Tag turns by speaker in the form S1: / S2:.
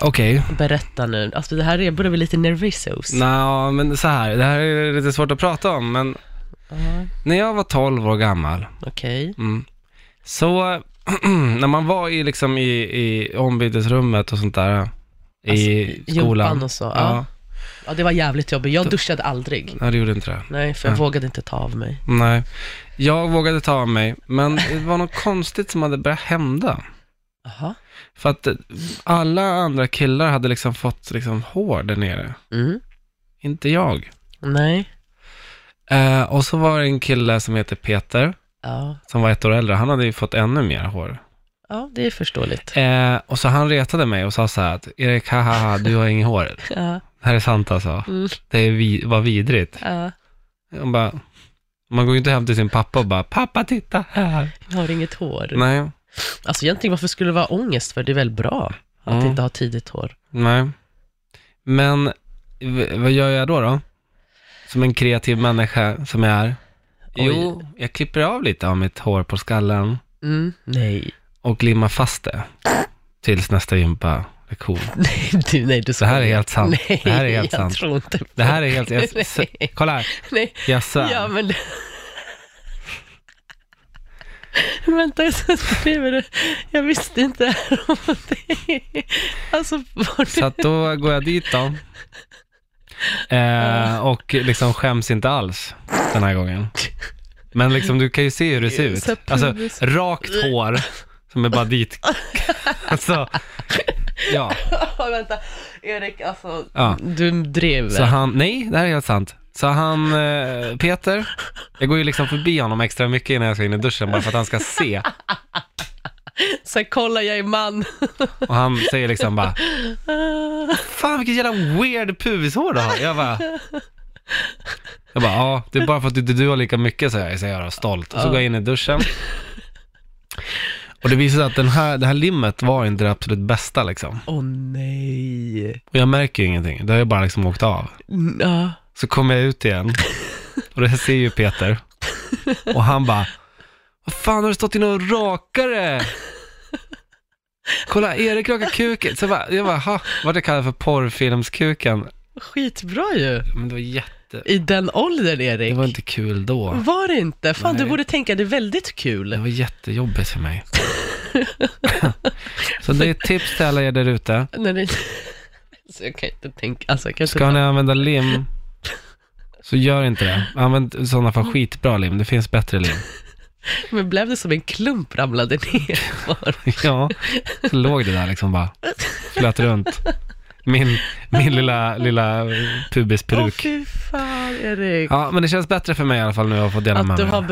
S1: Okej.
S2: Berätta nu. Alltså det här är, börjar bli lite nervisos.
S1: Nja, men så här, det här är lite svårt att prata om, men
S2: Ja,
S1: när jag var 12 år gammal,
S2: Okej.
S1: mm, så när man var i, liksom, i, i ombytesrummet och sånt där, i
S2: Alltså, i gympan
S1: skolan.
S2: och så, ja.
S1: ja.
S2: Ja, det var jävligt jobbigt. Jag duschade aldrig.
S1: Nej, det gjorde inte det.
S2: Nej, för
S1: Ja.
S2: jag vågade inte ta av mig.
S1: Nej. Jag vågade ta av mig, men det var något konstigt som hade börjat hända.
S2: Jaha.
S1: För att eh, alla andra killar hade liksom fått liksom hår där nere.
S2: Mm.
S1: Inte jag.
S2: Nej.
S1: Eh, och så var det en kille som heter Peter,
S2: Ja.
S1: som var ett år äldre. Han hade ju fått ännu mer hår.
S2: ja, det är förståeligt.
S1: Eh, och så han retade mig och sa så här att Erik, haha, du har inget hår.
S2: Ja,
S1: Det här är sant alltså.
S2: Mm.
S1: Det är vi- var vidrigt.
S2: ja.
S1: Jag bara, man går ju inte hem till sin pappa och bara, pappa titta här.
S2: Jag har inget hår.
S1: Nej,
S2: Alltså egentligen, varför skulle det vara ångest för? Det är väl bra att
S1: Mm.
S2: inte ha tidigt hår?
S1: nej. Men v- vad gör jag då då? Som en kreativ människa som jag är.
S2: Oj.
S1: Jo, jag klipper av lite av mitt hår på skallen
S2: Mm. Nej.
S1: och limmar fast det tills nästa gympa-lektion.
S2: Nej, du, nej, du
S1: Det här är
S2: skojar.
S1: helt sant.
S2: Nej,
S1: Det här är helt
S2: jag
S1: sant.
S2: tror inte på
S1: Det här är helt... Jag, s-
S2: Nej.
S1: kolla här,
S2: Nej.
S1: jag svär.
S2: Ja, men... Vänta, så skriver du. Jag visste inte om det. Alltså, var
S1: Så
S2: det...
S1: att då går jag dit då. Eh, och liksom skäms inte alls den här gången. Men liksom du kan ju se hur det ser ut.
S2: Så
S1: Alltså
S2: pubis.
S1: rakt hår som är bara dit. Alltså, ja,
S2: Ja, vänta. Erik, alltså...
S1: ja.
S2: Du drev.
S1: Så han, nej, det här är helt sant. Så han, eh, Peter, jag går ju liksom förbi honom extra mycket innan jag ska in i duschen bara för att han ska se.
S2: Så här, kolla, jag är man.
S1: Och han säger liksom bara, fan vilket jävla weird pubishår du har. Jag bara, jag bara, ja, det är bara för att du, du har lika mycket säger jag, säger jag då, stolt. Och så går jag in i duschen. Och det visar sig att den här, det här limmet var inte det absolut bästa liksom.
S2: Åh nej.
S1: Och jag märker ju ingenting, det har ju bara liksom åkt av.
S2: Mm, Ja.
S1: Så kommer jag ut igen och det här ser ju Peter. Och han bara, vad fan har du stått inne och rakare? Kolla, Erik rakar kuken. Så jag bara, jag bara, ha, vad det kallar för porrfilmskuken.
S2: Skitbra ju.
S1: Men det var jätte...
S2: I den åldern, Erik.
S1: Det var inte kul då.
S2: Var det inte? Fan,
S1: Nej.
S2: du borde tänka det är väldigt
S1: Det
S2: kul.
S1: var jättejobbigt för mig. Så det är ett tips till alla er där ute.
S2: När det... Så jag kan inte tänka, alltså jag kan inte
S1: Ska ni använda lim, så gör inte det. Använd i sådana fall skitbra lim. Det finns bättre lim.
S2: Men blev det som en klump ramlade ner? Var?
S1: Ja, så låg det där liksom bara, flöt runt. Min, min lilla, lilla
S2: Åh
S1: pubisperuk.
S2: fy fan Erik.
S1: Ja, men det känns bättre för mig i alla fall nu att få dela
S2: att
S1: med
S2: du
S1: mig.
S2: har